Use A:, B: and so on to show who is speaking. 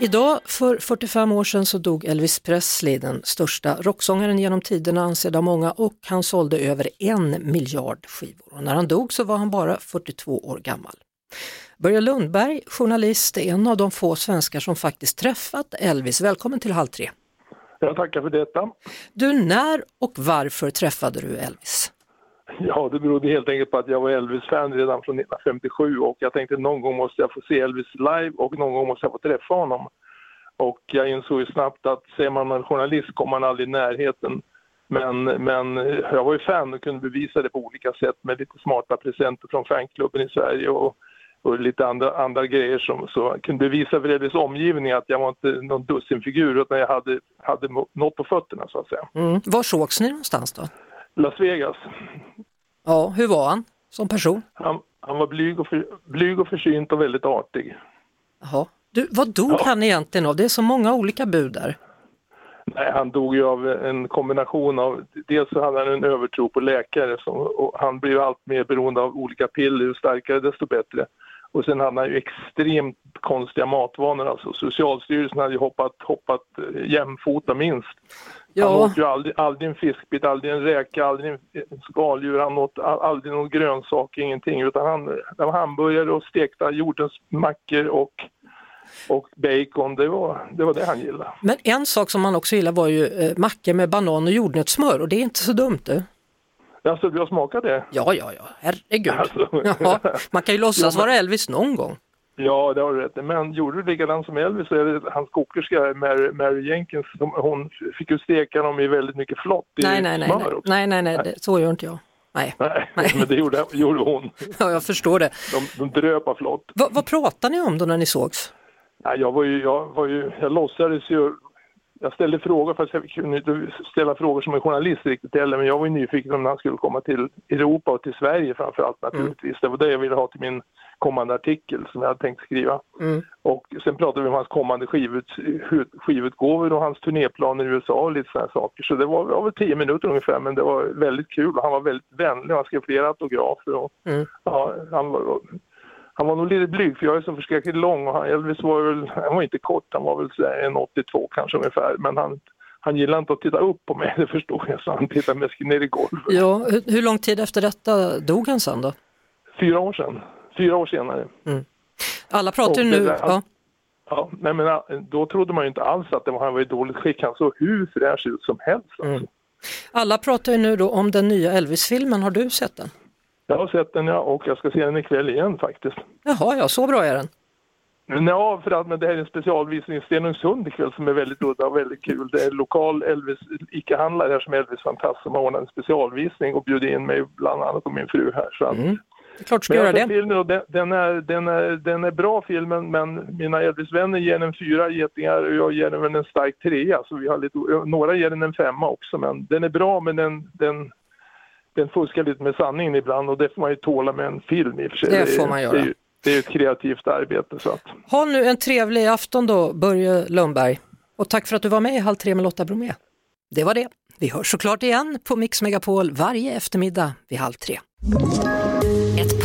A: Idag för 45 år sedan så dog Elvis Presley, den största rocksångaren genom tiderna ansedd av många och han sålde över en miljard skivor. Och när han dog så var han bara 42 år gammal. Börje Lundberg, journalist, är en av de få svenskar som faktiskt träffat Elvis. Välkommen till Halv tre.
B: Jag tackar för detta.
A: Du, när och varför träffade du Elvis?
B: Ja, det berodde helt enkelt på att jag var Elvis-fan redan från 1957 och jag tänkte någon gång måste jag få se Elvis live och någon gång måste jag få träffa honom. Och jag insåg ju snabbt att ser man en journalist kommer man aldrig i närheten. Men, men jag var ju fan och kunde bevisa det på olika sätt med lite smarta presenter från fanklubben i Sverige och, och lite andra, andra grejer som så jag kunde bevisa för Elvis omgivning att jag var inte någon dussinfigur utan jag hade, hade något på fötterna så att säga.
A: Mm. Var sågs ni någonstans då?
B: Las Vegas.
A: Ja, hur var han som person?
B: Han, han var blyg och, för, blyg och försynt och väldigt artig.
A: Jaha. Du, vad dog
B: Ja.
A: han egentligen av? Det är så många olika bud där.
B: Nej, han dog ju av en kombination av, dels så hade han en övertro på läkare som, och han blev allt mer beroende av olika piller, ju starkare desto bättre. Och sen hade han ju extremt konstiga matvanor alltså. Socialstyrelsen hade ju hoppat, hoppat eh, jämfota minst. Han
A: Ja,
B: åt ju aldrig, aldrig en fiskbit, aldrig en räka, aldrig en en skaldjur, han åt a- aldrig någon grönsak, ingenting. Utan han, det var hamburgare och stekta jordensmackor och, och bacon, det var, det var det han gillade.
A: men en sak som han också gillade var ju eh, mackor med banan och jordnötssmör och det är inte så dumt du.
B: Alltså, du har smakat det?
A: Ja, ja, ja, herregud.
B: Alltså.
A: Jaha. Man kan ju låtsas
B: Ja, men-
A: vara Elvis någon gång.
B: Ja, det har du rätt i. Men gjorde du likadant som Elvis så är det hans kokerska Mary, Mary Jenkins, som, hon fick ju steka dem i väldigt mycket flott i
A: Nej, nej, nej,
B: smör
A: nej,
B: också.
A: nej, nej, nej, det, så gör inte jag. Nej,
B: Nej, men det gjorde, gjorde hon.
A: ja, jag förstår det.
B: De, de dröp av flott.
A: Va, vad pratade ni om då när ni sågs?
B: Nej, jag var ju, jag var ju, jag låtsades ju, jag ställde frågor fast jag kunde inte ställa frågor som en journalist riktigt heller, men jag var ju nyfiken om när han skulle komma till Europa och till Sverige framförallt naturligtvis. Det var det jag ville ha till min kommande artikel som jag hade tänkt skriva. Och sen pratade vi om hans kommande skivut, hu- skivutgåvor och hans turnéplaner i USA och lite sådana saker. Så det var, det var väl tio minuter ungefär, men det var väldigt kul och han var väldigt vänlig och han skrev flera autografer och ja, han var han var nog lite blyg för jag är så förskräckligt lång och han, Elvis var väl, han var inte kort, han var väl så där en 82 kanske ungefär men han, han gillade inte att titta upp på mig, det förstår jag, så han tittade mest ner i golvet.
A: Ja, hur, hur lång tid efter detta dog han sen då?
B: Fyra år sedan, fyra år senare.
A: Alla pratar ju
B: Och det
A: nu,
B: där-
A: ja.
B: Ja, nej men ah, då trodde man ju inte alls att det var, han var i dåligt skick, han såg hur fräsch ut som helst. Alltså.
A: Alla pratar ju nu då om den nya Elvis-filmen, har du sett den?
B: Jag har sett den ja, och jag ska se den ikväll igen faktiskt.
A: Jaha, ja, så bra är den.
B: Men ja, för att men det här är en specialvisning i Stenungsund ikväll som är väldigt udda och väldigt kul. Det är en lokal Elvis, ICA-handlare här som är Elvis-fantast som har ordnat en specialvisning och bjudit in mig bland annat och min fru här. Så att,
A: Det är klart du Mm. ska
B: Men jag
A: göra
B: har sett
A: det.
B: filmen och den, den, är, den, är, den är bra filmen men mina Elvis-vänner ger den fyra getingar och jag ger den väl en stark trea. Så vi har lite, några ger den en femma också men den är bra men den, den, den fuskar lite med sanningen ibland och det får man ju tåla med en film i och för sig.
A: Det
B: är ju-
A: får man göra.
B: Det är, ju- det är ju ett kreativt arbete så att
A: Ha nu en trevlig afton då, Börje Lundberg. Och tack för att du var med i Halv tre med Lotta Bromé. Det var det. Vi hörs såklart igen på Mix Megapol varje eftermiddag vid halv tre.
C: Ett